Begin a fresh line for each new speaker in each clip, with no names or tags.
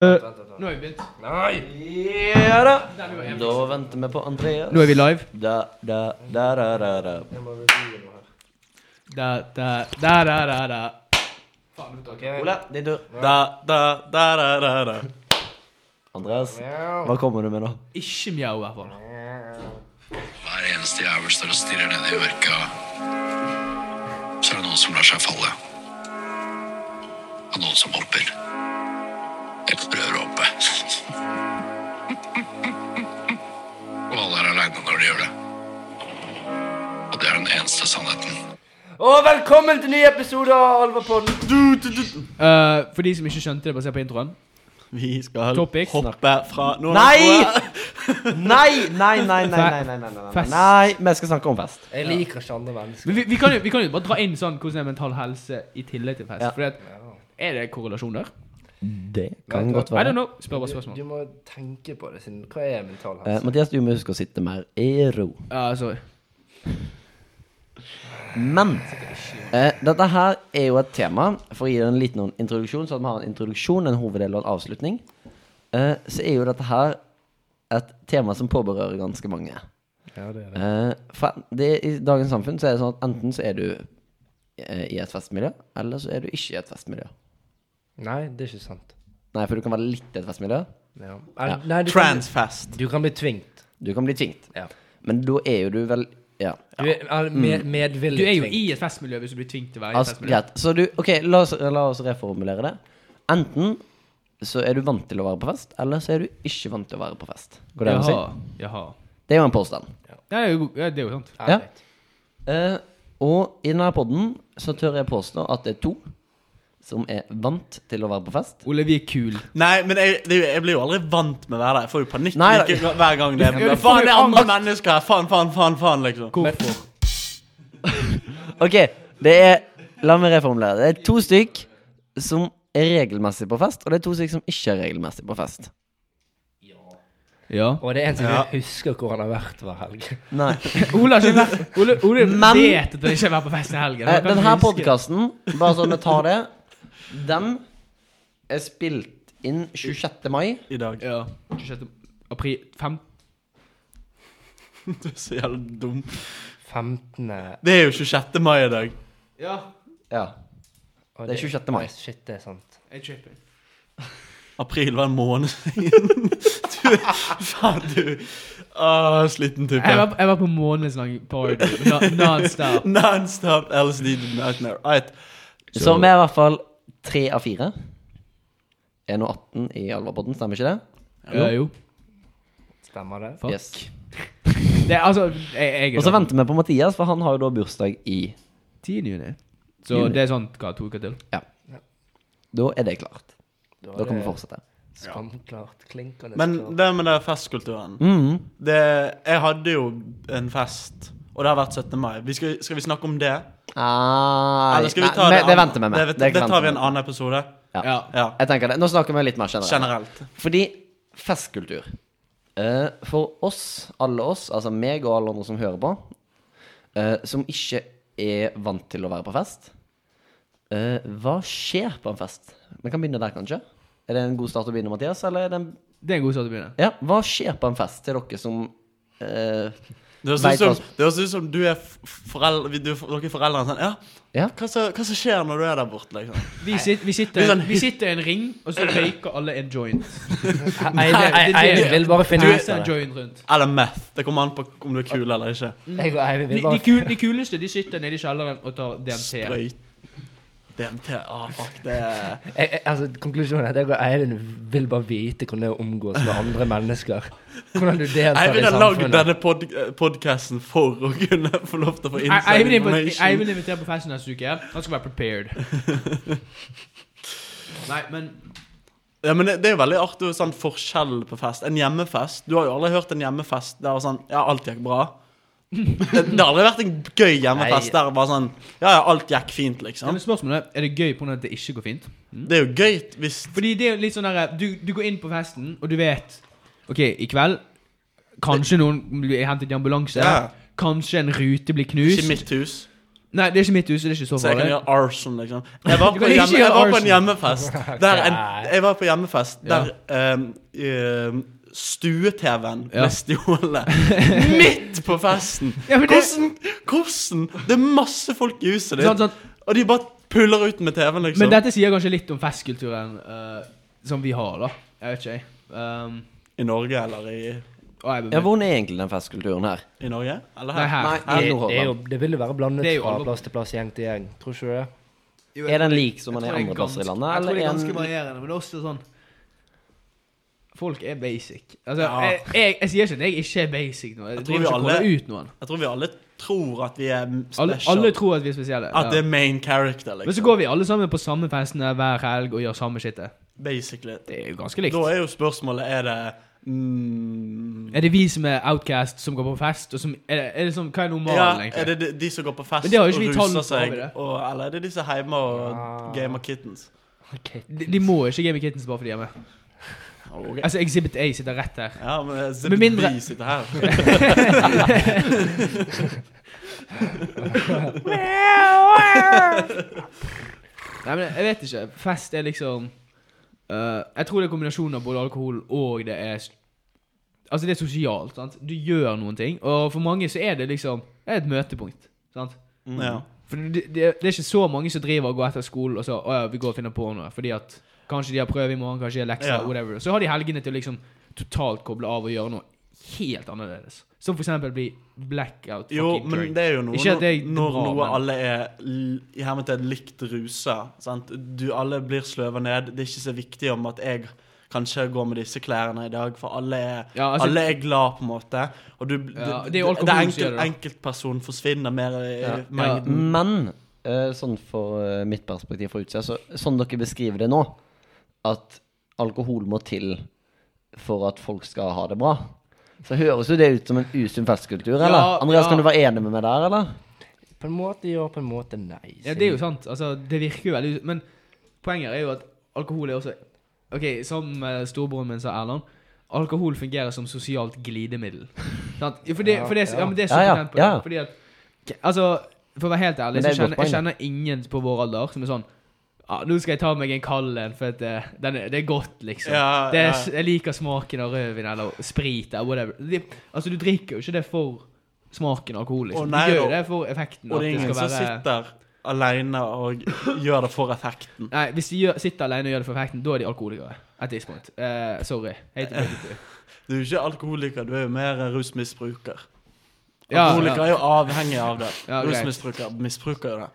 Eh,
Vent, vent, vent.
nå har vi begynt.
Nei!
Ja da!
Da venter vi på Andreas.
Nå er vi live.
Da, da, da, da, da, da.
Jeg må revye noe her.
Da, da, da, da, da, da. Faen, nå tar jeg-
Ok.
Ola, din tur. Da, da, da, da, da, da. Andreas, hva kommer du med nå?
Ikke mjau, i hvert fall.
Hver eneste jævel står og stirrer ned i mørka. Så er det noen som lar seg falle. Og noen som hopper. Eller prøver å hoppe. Og alle er aleine når de gjør det. Og det er den eneste sannheten.
Og velkommen til ny episode av Alvapodden.
Eh, for de som ikke skjønte det basert på introen
Vi skal
Topics.
hoppe fra nå
Nei! Nei, nei, nei, nei, nei, nei, nei, nei, nei,
Fest.
nei. Vi skal snakke om fest.
Jeg liker ikke andre mennesker.
Men vi, vi, kan jo, vi kan jo bare dra inn sånn hvordan er mental helse i tillegg til fest.
Ja.
Fordi at, er det korrelasjon der?
Det kan
I
godt
don't
være.
know. Spør bare
Du
spørsmål.
må tenke på det, siden hva er mental
Eh,
helse?
Mathias, du må huske å sitte mer i ro.
Ja, altså, sorry.
Men eh, dette her er jo et tema. For å gi det en liten noen introduksjon, så at vi har en introduksjon, en hoveddel og en avslutning, eh, så er jo dette her et tema som påberører ganske mange.
Ja, det er
Eh, for det, I dagens samfunn så er det sånn at enten så er du eh, i et festmiljø, eller så er du ikke i et festmiljø.
Nei, det er ikke sant.
Nei, for du kan være litt i et festmiljø.
Ja.
Ja.
Er, nei, du kan,
Transfest.
du kan bli tvingt.
Du kan bli tvingt.
Ja.
Men da er jo du vel Ja. Mm.
Du er, er med,
Du
medvillig
er jo
tvingt.
i et festmiljø hvis du blir tvunget til å være i et
Altså,
festmiljø.
greit. Så du OK, la oss, la oss reformulere det. Enten så er du vant til å være på fest, eller så er du ikke vant til å være på fest. Går det an å si?
Jaha. Jaha.
Det er jo en påstand.
Ja, det er jo, ja, det er jo sant.
Ja.
rett.
Eh, og i denne podden så tør jeg påstå at det er to som er vant til å være på fest.
Ole, vi er kul.
Nei, men jeg, det, er jo- jeg blir jo aldri vant med å være der. Jeg får jo panikk
Nei,
like, hver gang det
Ja,
er sånn,
du får
Faen, det er
jo
andre
angst.
mennesker her! Faen, faen, faen, faen, liksom.
Hvorfor?
OK, det er La meg reformulere. Det er to stykk som er regelmessig på fest, og det er to stykk som ikke er regelmessig på fest.
Ja.
Og det er en som ikke husker hvor han har vært hver helg.
Nei.
Ole har ikke vært Ole, Ole
Men-
vet at han ikke har vært på fest i helgen.
Eh,
Han kan
den
ikke
her
huske.
podkasten, bare så vi tar det, den er spilt inn 26. mai.
I dag.
Ja. 26. april 5.
Du er så jævla dum.
15.
Det er jo 26. mai i dag.
Ja.
Ja.
og
Det er 26. mai.
Nei, Shit, det er sant.
Jeg tripper.
April var en måned siden. Du, faen, du. Åh, sliten
Jeg var,
tuppe.
jeg var på månedslang party. No, Nonstop.
Nonstop LSD nightmare. Right.
Så vi er i hvert fall tre av fire. 1 og 18 i Alvarpodden, stemmer ikke det?
Ja, jo.
Stemmer det?
Fuck.
Yes.
Det er altså Jeg, jeg
Og så venter vi på Mathias, for han har jo da bursdag i
10. juni. Så
Juni.
det er sånn hva, to uker til?
Da er det klart. Da kan vi
det
fortsette.
Skamklart klinkende
Men det med den festkulturen
Mhm.
det, Jeg hadde jo en fest, og det har vært 17. mai. Vi skal, skal vi snakke om det?
Ah,
Eller skal vi
nei,
ta
men
det,
det
an-
venter vi med.
Det, vet- det
venter
tar vi
vi
en
med.
annen episode.
Ja.
Ja.
Ja,
Jeg tenker det. Nå snakker vi litt mer generelt.
generelt.
Fordi festkultur eh, For oss, alle oss, altså meg og alle andre som hører på, eh, som ikke er vant til å være på fest eh, Hva skjer på en fest? Vi kan begynne der, kanskje? Er det en god start å begynne, Mathias? Eller er det en...
Det er en god start å begynne.
Ja, hva skjer på en fest til dere som eh,
Det høres
Vet
ut som,
hva-
det høres ut som du er f- foreldre, du, dere er foreldrene sånn Ja,
Ja.
hva som, hva som skjer når du er der borte, liksom?
Vi, sit, vi, sitter,
Det er sånn-
vi sitter i en ring, og så røyker alle en joint.
Eivind
det- det-
Eivind vil bare finne ut
Passer en
av det.
joint rundt.
Eller meth. Det kommer an på om du er kul eller ikke.
Jeg og Eivind
De,
vil
de,
bare
kul, de kuleste de sitter nede i kjelleren og tar DMT.
Sprøyt. DMT. Ah, fuck, det er
jeg, jeg, altså, Konklusjonen er at jeg og Eivind vil bare vite hvordan det er å omgås med andre mennesker. Hvordan du deltar i
Eivind har lagd
samfunnet.
denne pod podkasten for å kunne få lov til å få
Ei- Eivind
inside
er på-
information.
Eivind inviterer på festen neste uke. Han skal være prepared. Nei, men
Ja, men det, det er jo veldig artig å sånn forskjell på fest. En hjemmefest. Du har jo aldri hørt en hjemmefest der var sånn Ja, alt gikk bra. Det, det har aldri vært en gøy hjemmefest der det var sånn Ja, ja, alt gikk fint,
Ja,
liksom.
men spørsmålet er, er det gøy på grunn av at det ikke går fint?
Det er jo gøy hvis
Fordi det er jo litt sånn der, du, du går inn på festen, og du vet Ok, i kveld Kanskje noen blir hentet i ambulanse.
Ja.
Kanskje en rute blir
Ikke
knust.
mitt hus.
Nei, det er ikke mitt hus, så det er ikke så
Så jeg kan
farlig.
gjøre arson, liksom. Jeg var
Du
på,
kan ikke
hjemme, jeg
gjøre
var på en
arson.
hjemmefest der en, Jeg var på hjemmefest
Ja.
der ehm, ehm, Stue-TV-en
Ja.
ble stjålet midt på festen.
Ja, men det-
hvordan, hvordan? Det er masse folk i huset ditt,
Sant, sant.
og de bare puller ut med TV-en,
sånn,
liksom.
Men dette sier kanskje litt om festkulturen eh, som vi har, da. Jeg vet ikke, jeg. Um,
I Norge eller i,
og jeg
Ja, Hvordan er egentlig den festkulturen her?
i Norge? Eller
Nei,
her?
her.
Nei,
Det,
i
det, er jo,
Nordhordland.
det vil jo være blandet
Det er jo
fra
alle-
plass til plass, gjeng til gjeng. Tror ikke du det?
Er den lik som den er andre plasser i landet?
Jeg tror det er ganske
en-
varierende, men det er også sånn Folk er basic. Altså,
Ja.
jeg, jeg, jeg sier ikke at jeg ikke er basic nå. Jeg,
tror
driver
vi
ikke og
alle-
kaller ut noen.
Jeg tror vi alle tror at vi er
Alle,
special.
alle tror at vi er spesielle.
At det
Ja.
er main character, liksom.
Men så går vi alle sammen på samme festene hver helg og gjør samme shitet.
Basically.
Det er jo ganske likt.
Da er jo spørsmålet Er det mm,
Er det vi som er outcast, som går på fest, og som Er det, er det sånn, hva er normalen,
ja,
egentlig?
Er det de, de som går på fest
Men det har jo
og
ikke vi tall
ruser
på, har
seg,
vi det?
og, eller er det de som er hjemme og
Ah.
gamer kittens?
Okay.
De, de må ikke game kittens bare fordi de er med. Altså, Exhibit A sitter rett her.
Ja, men
Med
Zip
mindre-
B sitter her.
Nei, men jeg vet ikke. Fest er liksom eh, Jeg tror det er kombinasjonen av både alkohol og det er s- Altså, det er sosialt. sant? Du gjør noen ting. Og for mange så er det liksom Det er et møtepunkt. sant?
Mm. Ja.
For det, det, det er ikke så mange som driver og går etter skolen og så Å ja, vi går og finner på noe. Fordi at kanskje de har prøve i morgen, kanskje de har lekser,
Ja.
whatever. Så har de helgene til å liksom totalt koble av og gjøre noe helt annerledes. Som for eksempel bli blackout fucking
Jo, men
drunk.
det er jo noe
Ikke at det er
når- når
bra,
noe
men-
alle er l- i hermetegn likt rusa. Sant? Du, alle blir sløva ned. Det er ikke så viktig om at jeg kanskje går med disse klærne i dag, for alle er,
Ja, altså-
alle er glad, på en måte. Og du,
Ja,
det,
det er jo alkohol
det
som gjør
enkelt,
det, da.
enkeltperson forsvinner mer i
Ja.
i mengden.
Men eh, sånn for eh, mitt perspektiv fra utsida, så sånn dere beskriver det nå, at alkohol må til for at folk skal ha det bra, så høres jo det ut som en usunn festkultur, eller?
Ja,
Andreas,
ja.
kan du være enig med meg der, eller?
På en måte ja, på en måte nei.
Ja, det er jo sant. Altså, det virker jo veldig Men poenget er jo at alkohol er også Ok, som eh, storebroren min sa, Erland. Alkohol fungerer som sosialt glidemiddel. Sant? Jo, For det, for det, ja, men det er så
Ja, ja,
potent på
ja.
det. Fordi at ok, Altså, for å være helt ærlig,
Men det
så
er et godt
kjenner jeg kjenner ingen på vår alder som er sånn ja, 'Nå skal jeg ta meg en kald en, for at eh, den er, det er godt', liksom.
Ja,
det er,
ja.
Jeg liker smaken av rødvin eller sprit eller whatever. Det, altså, du drikker jo ikke det for smaken av alkohol, liksom.
Å, nei,
du gjør
og-
jo det for effekten.
Og det er
at
ingen
skal
som
være-
sitter aleine og gjør det for effekten.
Nei, hvis de gjør, sitter alene og gjør det for effekten, da er de alkoholikere. At this point. Eh, sorry. Hate to break it to you.
Du er jo ikke alkoholiker, du er jo mer rusmisbruker.
Ja,
Alkoholiker
ja.
er jo avhengig av det.
Ja, greit.
Rusmisbruker misbruker jo det.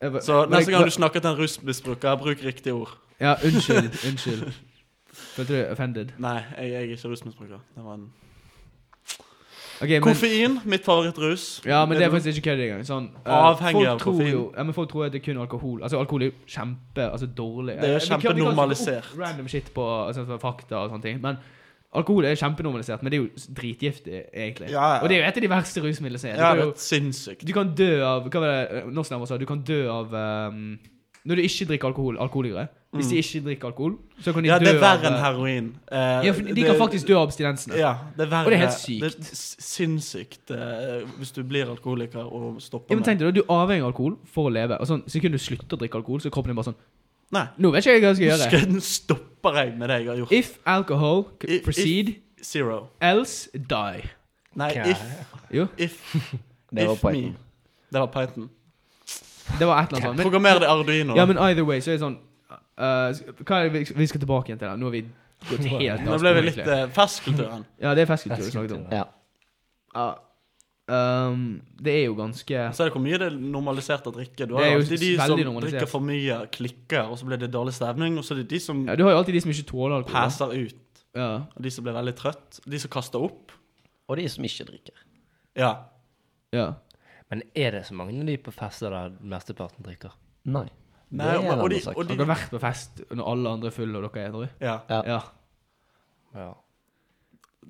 Jeg bare-
Så
Men-
neste gang du snakker til en rusmisbruker, bruk riktig ord.
Ja, unnskyld. Unnskyld. Følte du offended?
Nei, jeg, jeg er ikke rusmisbruker. Det var en...
Ok, men
Koffein, mitt favorittrus.
Ja, men det er
du-
faktisk ikke kødd engang. Sånn, eh,
Avhengig
folk
av
tror
koffein.
Jo, ja, men folk tror at det er kun alkohol. Altså, alkohol er jo kjempe Altså dårlig.
Det er jo
Vi kan- vi kan ikke
kjempenormalisert.
opp Random shit på altså, fakta og sånne ting. Men alkohol er kjempenormalisert, men det er jo dritgiftig, egentlig.
Ja, ja.
Og det er jo et av de verste rusmidlene som er. Du
Ja,
kan
det
jo-
er sinnssykt.
Du kan dø av Hva var det eh, norsk nærmere sa? Du kan dø av ehm, Når du ikke drikker alkohol, alkoholikere. Hvis de ikke drikker alkohol, så kan de
Mm. Ja,
dø
det er verre
av,
enn
eh,
heroin. Eh,
Ja, for de kan faktisk dø av abstinensene.
Ja, det er verre.
Og det er helt sykt.
Det er s- sinnssykt eh, hvis du blir alkoholiker og stopper
Ja, men tenk deg, da, Du er avhengig av alkohol for å leve. Og sånn, Sekundet du slutter å drikke alkohol, så er kroppen din bare sånn
med Nei.
Nå vet ikke jeg hva jeg skal gjøre.
Skødden stopper jeg med det jeg har gjort.
If alcohol
I-
c- proceed,
Zero.
else die.
Nei,
sånn,
Ok.
if,
Jo,
if,
Det var
if me.
pointen.
Det var Python.
det var et eller annet sånt.
Programmer det i Arduino.
Men, ja, men either way, så er det sånn eh, s- Hva er det vi- vi skal tilbake igjen til? da? Nå har vi gått helt
Nå
av
ble vi
sporet,
litt
egentlig.
eh, festkulturen.
Ja, det er festkultur vi snakket om.
Ja.
Ja. Ehm, det er jo ganske
Så er det hvor mye det er normalisert å drikke. Du
Det
har
er
jo
jo
alltid de
veldig
som
normalisert.
drikker for mye, klikker, og så blir det dårlig stemning. Og så er det de som
ja, Du har jo alltid de som ikke tåler alkohol. da.
passer ut,
Ja.
og de som blir veldig trøtt, de som kaster opp.
Og de som ikke drikker.
Ja.
ja.
Men er det så mange av de på fester der mesteparten drikker?
Nei.
Nei,
det er
og, og, de,
en annen
og
Dere
de
har vært på fest når alle andre er fulle og dere er edru?
Ja.
Ja.
Ja.
Ja.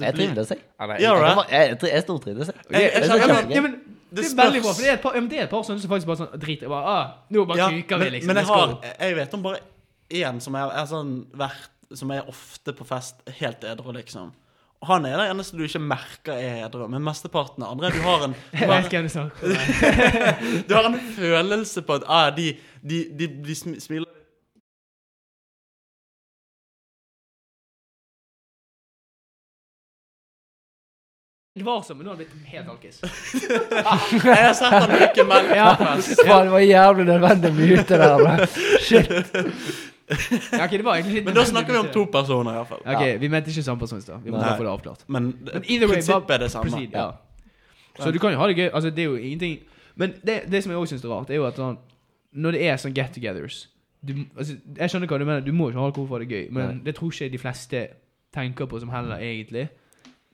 Jeg trivdes, jeg.
Eller,
Ja,
Jeg,
right.
var- jeg, jeg, jeg stortrivdes, jeg.
Jeg-
Det
jeg
er så
skjønner-
kjempegøy.
Ja, men sånn det er veldig bra, for det er et par, ja, men det er et par sånne som faktisk bare sånn driter i bare, ah, Nå bare
Ja,
kuker vi,
men,
liksom.
men jeg,
let's
har,
go.
jeg vet om bare én som er, er sånn vært Som er ofte på fest helt edru, liksom. Han er den eneste du ikke merker er edru, men mesteparten av andre Du har en, du
Jeg
har,
vet hvem du snakker om.
du har en følelse på at ah, de, de, de, de sm- smiler
Det var som, men nå har han blitt helt alkis.
Jeg har sett han drikke melk
Ja.
på fest.
Faen, det var jævlig nødvendig å mute der. da. Shit.
Ja, ok, det var egentlig litt
Men da snakker vi om to personer, iallfall.
Ok, vi mente ikke samme person i stad. Vi må
Nei.
bare få det avklart.
Men,
Men either way,
prinsippet
bare-
er det samme.
Proceed, ja. Så du kan jo ha det gøy. Altså, det er jo ingenting Men det, det som jeg også syns er rart, er jo at sånn Når det er sånn get-togethers du, altså, Jeg skjønner hva du mener, du må ikke ha alkohol for å ha det gøy, men det tror ikke jeg de fleste tenker på som heller, egentlig.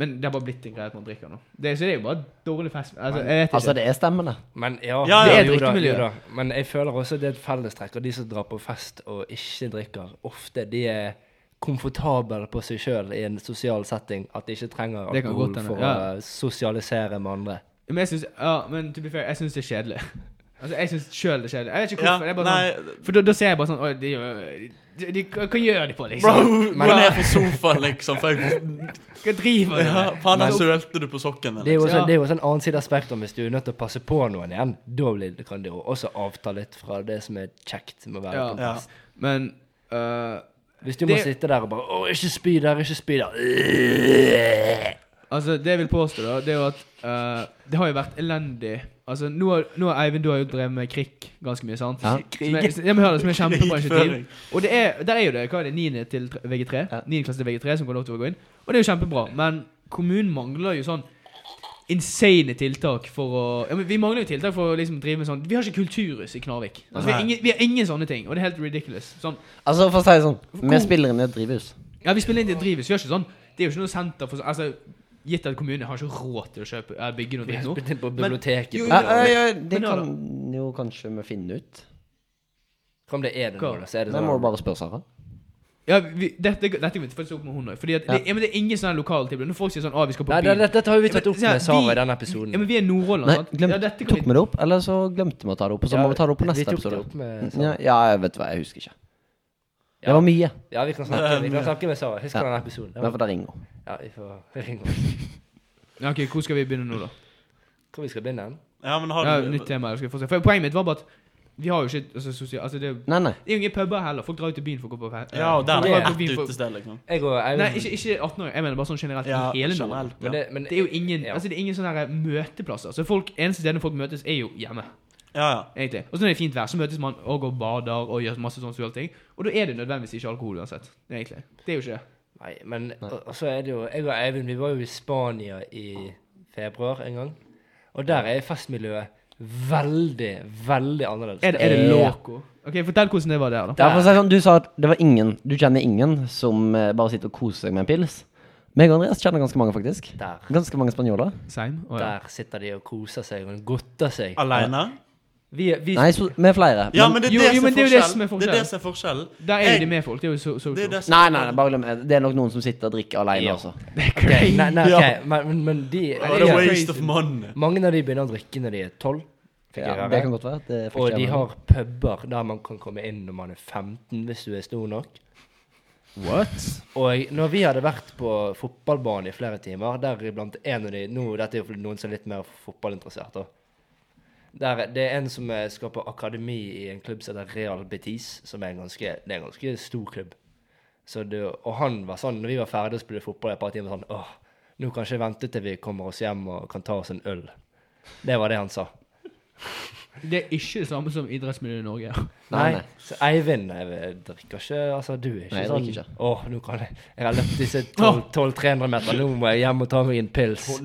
Men det har bare blitt en greie at man drikker nå. Det, så det er jo bare dårlig fest. Altså, jeg vet ikke.
Altså, det er stemmende.
Men ja,
Ja, ja,
det
det
er
er
jo da,
drikkemiljø.
jo da. Men jeg føler også det er et fellestrekk. Og de som drar på fest og ikke drikker, ofte de er komfortable på seg sjøl i en sosial setting. At de ikke trenger
Det kan
alkohol
godt hende,
for
ja.
å sosialisere med andre.
men jeg syns ja, men to be fair, jeg synes det er kjedelig. Altså, jeg syns sjøl det er kjedelig. Jeg vet ikke
Ja,
hvorfor. det er bare sånn,
nei,
for da, da ser jeg bare sånn Oi, de, gjør- de, de, Hva gjør de på,
bro,
liksom?
gå ned på sofaen, liksom. For jeg,
Hva driver de
ja,
med?
faen, altså, der sølte du på sokken min.
Det er jo også,
Ja.
det er jo også en annen side av spektrum hvis du er nødt til å passe på noen igjen. Da blir, det- kan du jo også avta litt fra det som er kjekt med å være
Ja.
på
Ja.
fest.
Men øh,
Hvis du må
Det-
sitte der og bare 'Å, ikke spy der, ikke spy der'.
altså, det jeg vil påstå, da, det er jo at øh, det har jo vært elendig. Altså, nå har, nå har Eivind, du har jo drevet med krikk ganske mye, sant?
Ja.
Som er, ja, men hør, det som er kjempebra
Krigføring.
initiativ. Og det er, der er jo det. Hva er det? 9. til tre- VG3?
Ja.
9. klasse til VG3 som kan lov til å gå inn. Og det er jo kjempebra. Men kommunen mangler jo sånn insane tiltak for å ja, men Vi mangler jo tiltak for å liksom drive med sånn Vi har ikke kulturhus i Knarvik. Altså, vi, har
Nei.
ingen, vi har ingen sånne ting. Og det er helt ridiculous. Sånn
Altså, for å si det sånn, vi spiller inn i et drivhus.
Ja, vi spiller inn til et drivhus. Vi gjør ikke sånn. Det er jo ikke noe senter for Altså, gitt at kommunen har ikke råd til å kjøpe, eh, bygge noe
Vi har
dritt nå.
spilt inn på biblioteket.
jo,
på-
Ja, ja, ja, det
Men ja
kan jo kanskje vi finne ut.
Kom, det er det nå, da. Så er det
Det må du
sånn.
bare spørre Sara.
Ja, vi, dette, dette kommer vi faktisk opp med hun òg. Fordi at det, ja, men det er ingen sånne lokale tilbud. Når folk sier sånn Å, vi skal på
Nei, det-
byen.
det- dette har jo vi tatt
Ja, men,
opp med
se,
Sara
vi-
i denne episoden.
Ja, men vi er Nordhåland,
Nei,
sant?
glem,
ja, dette kan
tok
vi
vi det opp, eller så glemte vi å ta det opp? Og så
Ja,
må vi ta det opp på
vi
neste
tok det
episode.
opp med
Ja,
Sara.
ja, jeg vet hva, jeg husker ikke.
Ja.
Det var mye.
Ja, vi kan snakke, vi kan snakke med Sara. Husker
Ja.
denne episoden?
Men for det ringer.
Ja, vi får ringe henne.
Ja, ok, Hvor skal vi begynne nå, da?
Hvor vi skal begynne den?
Ja, men har
Ja,
du
nytt tema. eller Skal vi fortsette? For Poenget mitt var bare at vi har jo ikke altså, sosial... Altså, det er jo
Nei, nei.
det er jo ingen puber heller. Folk drar jo til byen for å gå på fe-
Ja, og der
Folk
er
drar jo på
det
byen
ett
for-
utested, liksom.
Jeg og Eivind
Nei, ikke, ikke 18-åringer. Jeg mener bare sånn generelt.
Ja,
i hele Nordhåland.
generelt.
Men
Ja.
det, men,
Det er jo ingen
Ja.
Altså det er ingen sånne her møteplasser. Så folk, Eneste stedet folk møtes, er jo hjemme.
Ja, ja.
egentlig Og så når det er fint vær, så møtes man og går og bader og gjør masse sånne sosiale ting. Og da er det nødvendigvis ikke alkohol uansett. egentlig Det er jo ikke det.
Nei, men og- og så er det jo Jeg og Eivind vi var jo i Spania i februar en gang. Og der er festmiljøet veldig, veldig annerledes.
Er det, er det
Eh,
loco? Ok, Fortell hvordan det var der, da.
Det er for å si det sånn, du sa at det var ingen, du kjenner ingen som eh, bare sitter og koser seg med en pils. Meg og Andreas kjenner ganske mange, faktisk.
Der.
Ganske mange spanjoler.
Seim? Å, ja.
Der sitter de og koser seg og godter seg.
Aleine?
Vi, vi,
Nei, så, med flere.
Ja, men det er
Jo,
det
jo,
som
men det
er
er jo det som er
forskjellen.
forskjellen.
Det er det som er forskjellen.
Der er jo
Jeg-
de med folk. Det er jo so so
Det er det som
Nei, nei, nei, bare glem det. Det er nok noen som sitter og drikker alene
Ja.
også.
ok, nei, nei,
Ja.
ok, men, men, men de
What
Nei,
a
det er
waste
crazy.
of money.
Mange av de begynner å drikke når de er tolv. fikk jeg
Ja,
høre.
det kan godt være. Det
Og
fortjener
de
det.
har puber der man kan komme inn når man er 15, hvis du er stor nok.
What?
Og når vi hadde vært på fotballbanen i flere timer, deriblant en av de nå, Dette er jo for noen som er litt mer fotballinteressert. da. Der, det er en som eh, skal på akademi i en klubb som heter Real Betis, som er en ganske, det er en ganske stor klubb. Så det, og han var sånn, når vi var ferdige og spilte fotball i et par timer, sånn åh, nå kan ikke jeg vente til vi kommer oss hjem og kan ta oss en øl. Det var det han sa.
Det er ikke det samme som idrettsmiljøet i Norge.
Nei,
Nei,
nei.
så Eivind nei, jeg drikker ikke Altså, du er ikke
Nei, jeg
sånn
drikker ikke.
Åh, nå kan jeg Jeg har løpt disse 1200-300 meter, nå må jeg hjem og ta meg en pils.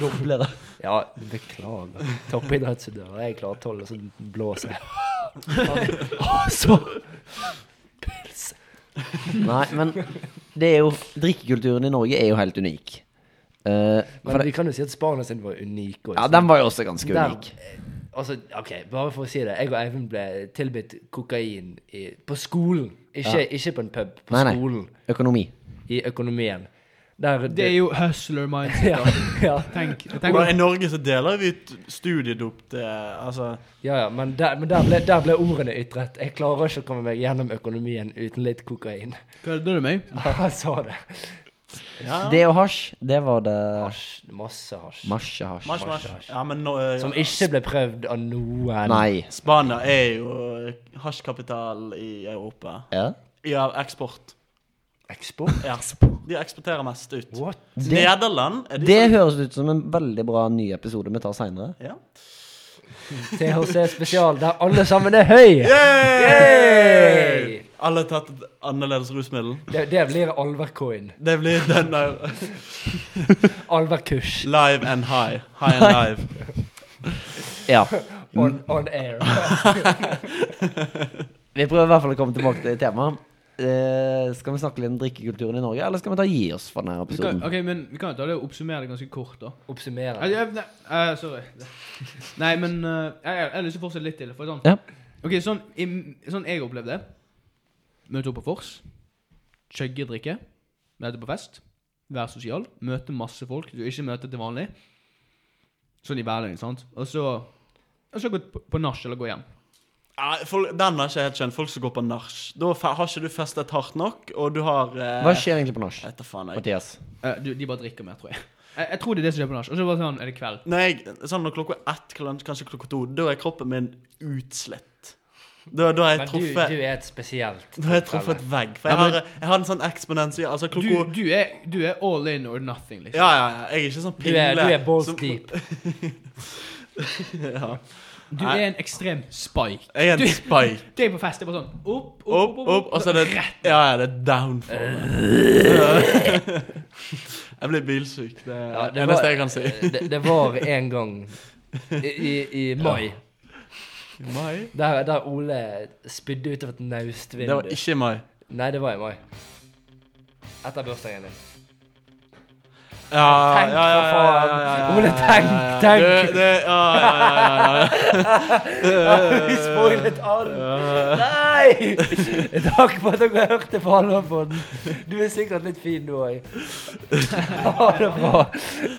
Doble det.
Ja, beklager. Toppidrettsutøver. Jeg klarer 12, og så blåser jeg. Åh, så Pils.
Nei, men det er jo Drikkekulturen i Norge er jo helt unik. Eh, for
Men
det,
vi kan jo si at Spania sin var unik. også.
ja, den var jo også ganske
Der-
unik.
Altså, ok, bare for å si det. Jeg og Eivind ble tilbudt kokain i, på skolen. Ikke, ikke på en pub. På
Nei, nei.
skolen.
Økonomi.
I økonomien. Der,
Det er jo hustler mindset.
ja,
da.
ja.
Tenk, tenk
Hvordan, I Norge så deler vi ut studiedop til Altså
Ja, ja, men der, men der, ble, der ble ordene ytret. Jeg klarer ikke å komme meg gjennom økonomien uten litt kokain.
Kødder du med meg?
Han sa det.
Det og hasj, det var det
Hasj. Masse hasj.
Marsjehasj.
Marsj, marsj. Ja, men nå, eh,
Som ikke ble prøvd av noen.
Nei.
Spania er jo eh, hasjkapital i Europa.
Ja.
Ja, eksport.
Eksport?
Ja. De eksporterer mest ut.
What?
Nederland er de
Det
som-
høres ut som en veldig bra ny episode vi tar seinere.
ja.
THC spesial, der alle sammen er høy! Yay!
Alle har tatt et annerledes rusmiddel.
Det, det blir alvercoin.
Det blir den der
Alverkurs.
live and high. High and live.
Ja.
On, on air.
Vi prøver i hvert fall å komme tilbake til temaet. Eh, skal vi snakke litt om drikkekulturen i Norge, eller skal vi ta gi oss for denne
Vi kan,
episoden?
ok, men vi kan jo ta det og oppsummere det ganske kort, da.
Oppsummere.
Nei, jeg- nei, eh, sorry. Nei, men eh, jeg, jeg har lyst til å fortsette litt til. For sånn,
Ja.
Ok, sånn, i, sånn jeg opplevde det Møte opp på vors, chugge drikke, møte på fest, være sosial, møte masse folk du ikke møter til vanlig. Sånn i hverdagen, sant. Og så, og så gå på, på nach eller gå hjem.
Nei, folk, den har jeg ikke helt skjønt. Folk som går på nach. Da fe- har ikke du festet hardt nok, og du har eh,
Hva skjer egentlig på nach?
Vet da faen, jeg.
Mathias.
Eh, du, de bare drikker mer, tror jeg. Jeg, jeg tror det er det som skjer på nach. Og så bare sånn, er det kveld.
Når jeg, sånn når klokka er ett, klan- kanskje klokka to, da er kroppen min utslitt. Da, da har jeg
Men du,
truffet
du er et spesielt
Da har jeg truffet vegg. For jeg
Ja, men-
har, jeg har en sånn eksponensiell Altså
Du,
klokka
du, er, du er all in or nothing, liksom.
Ja, ja, ja. Jeg er ikke sånn
Du er, du
pingle.
er balls
som-
deep.
Ja.
Du er en ekstrem spike.
Jeg er en
Du-
spike.
Det er på fest. Det er bare sånn opp, opp,
Opp, opp, og så er det Ja, ja, det er downfall. Jeg blir bilsyk. Det er
Ja, eh,
det eneste jeg kan si.
Det, det var en gang i, i, i mai,
I mai?
der, der Ole spydde ut av et naustvindu.
Det var ikke i mai.
Nei, det var i mai. Etter bursdagen din.
Ja, ja,
Tenk,
ja,
for
ja, ja, ja,
faen.
ja, ja,
Ole,
ja,
tenk,
ja, ja.
tenk.
Det- det- Ja, ja, ja, ja, ja,
Vi spoilet alt! Nei! Takk for at dere hørte på Halvorpodden. Du er sikkert litt fin, du òg. Ha det bra.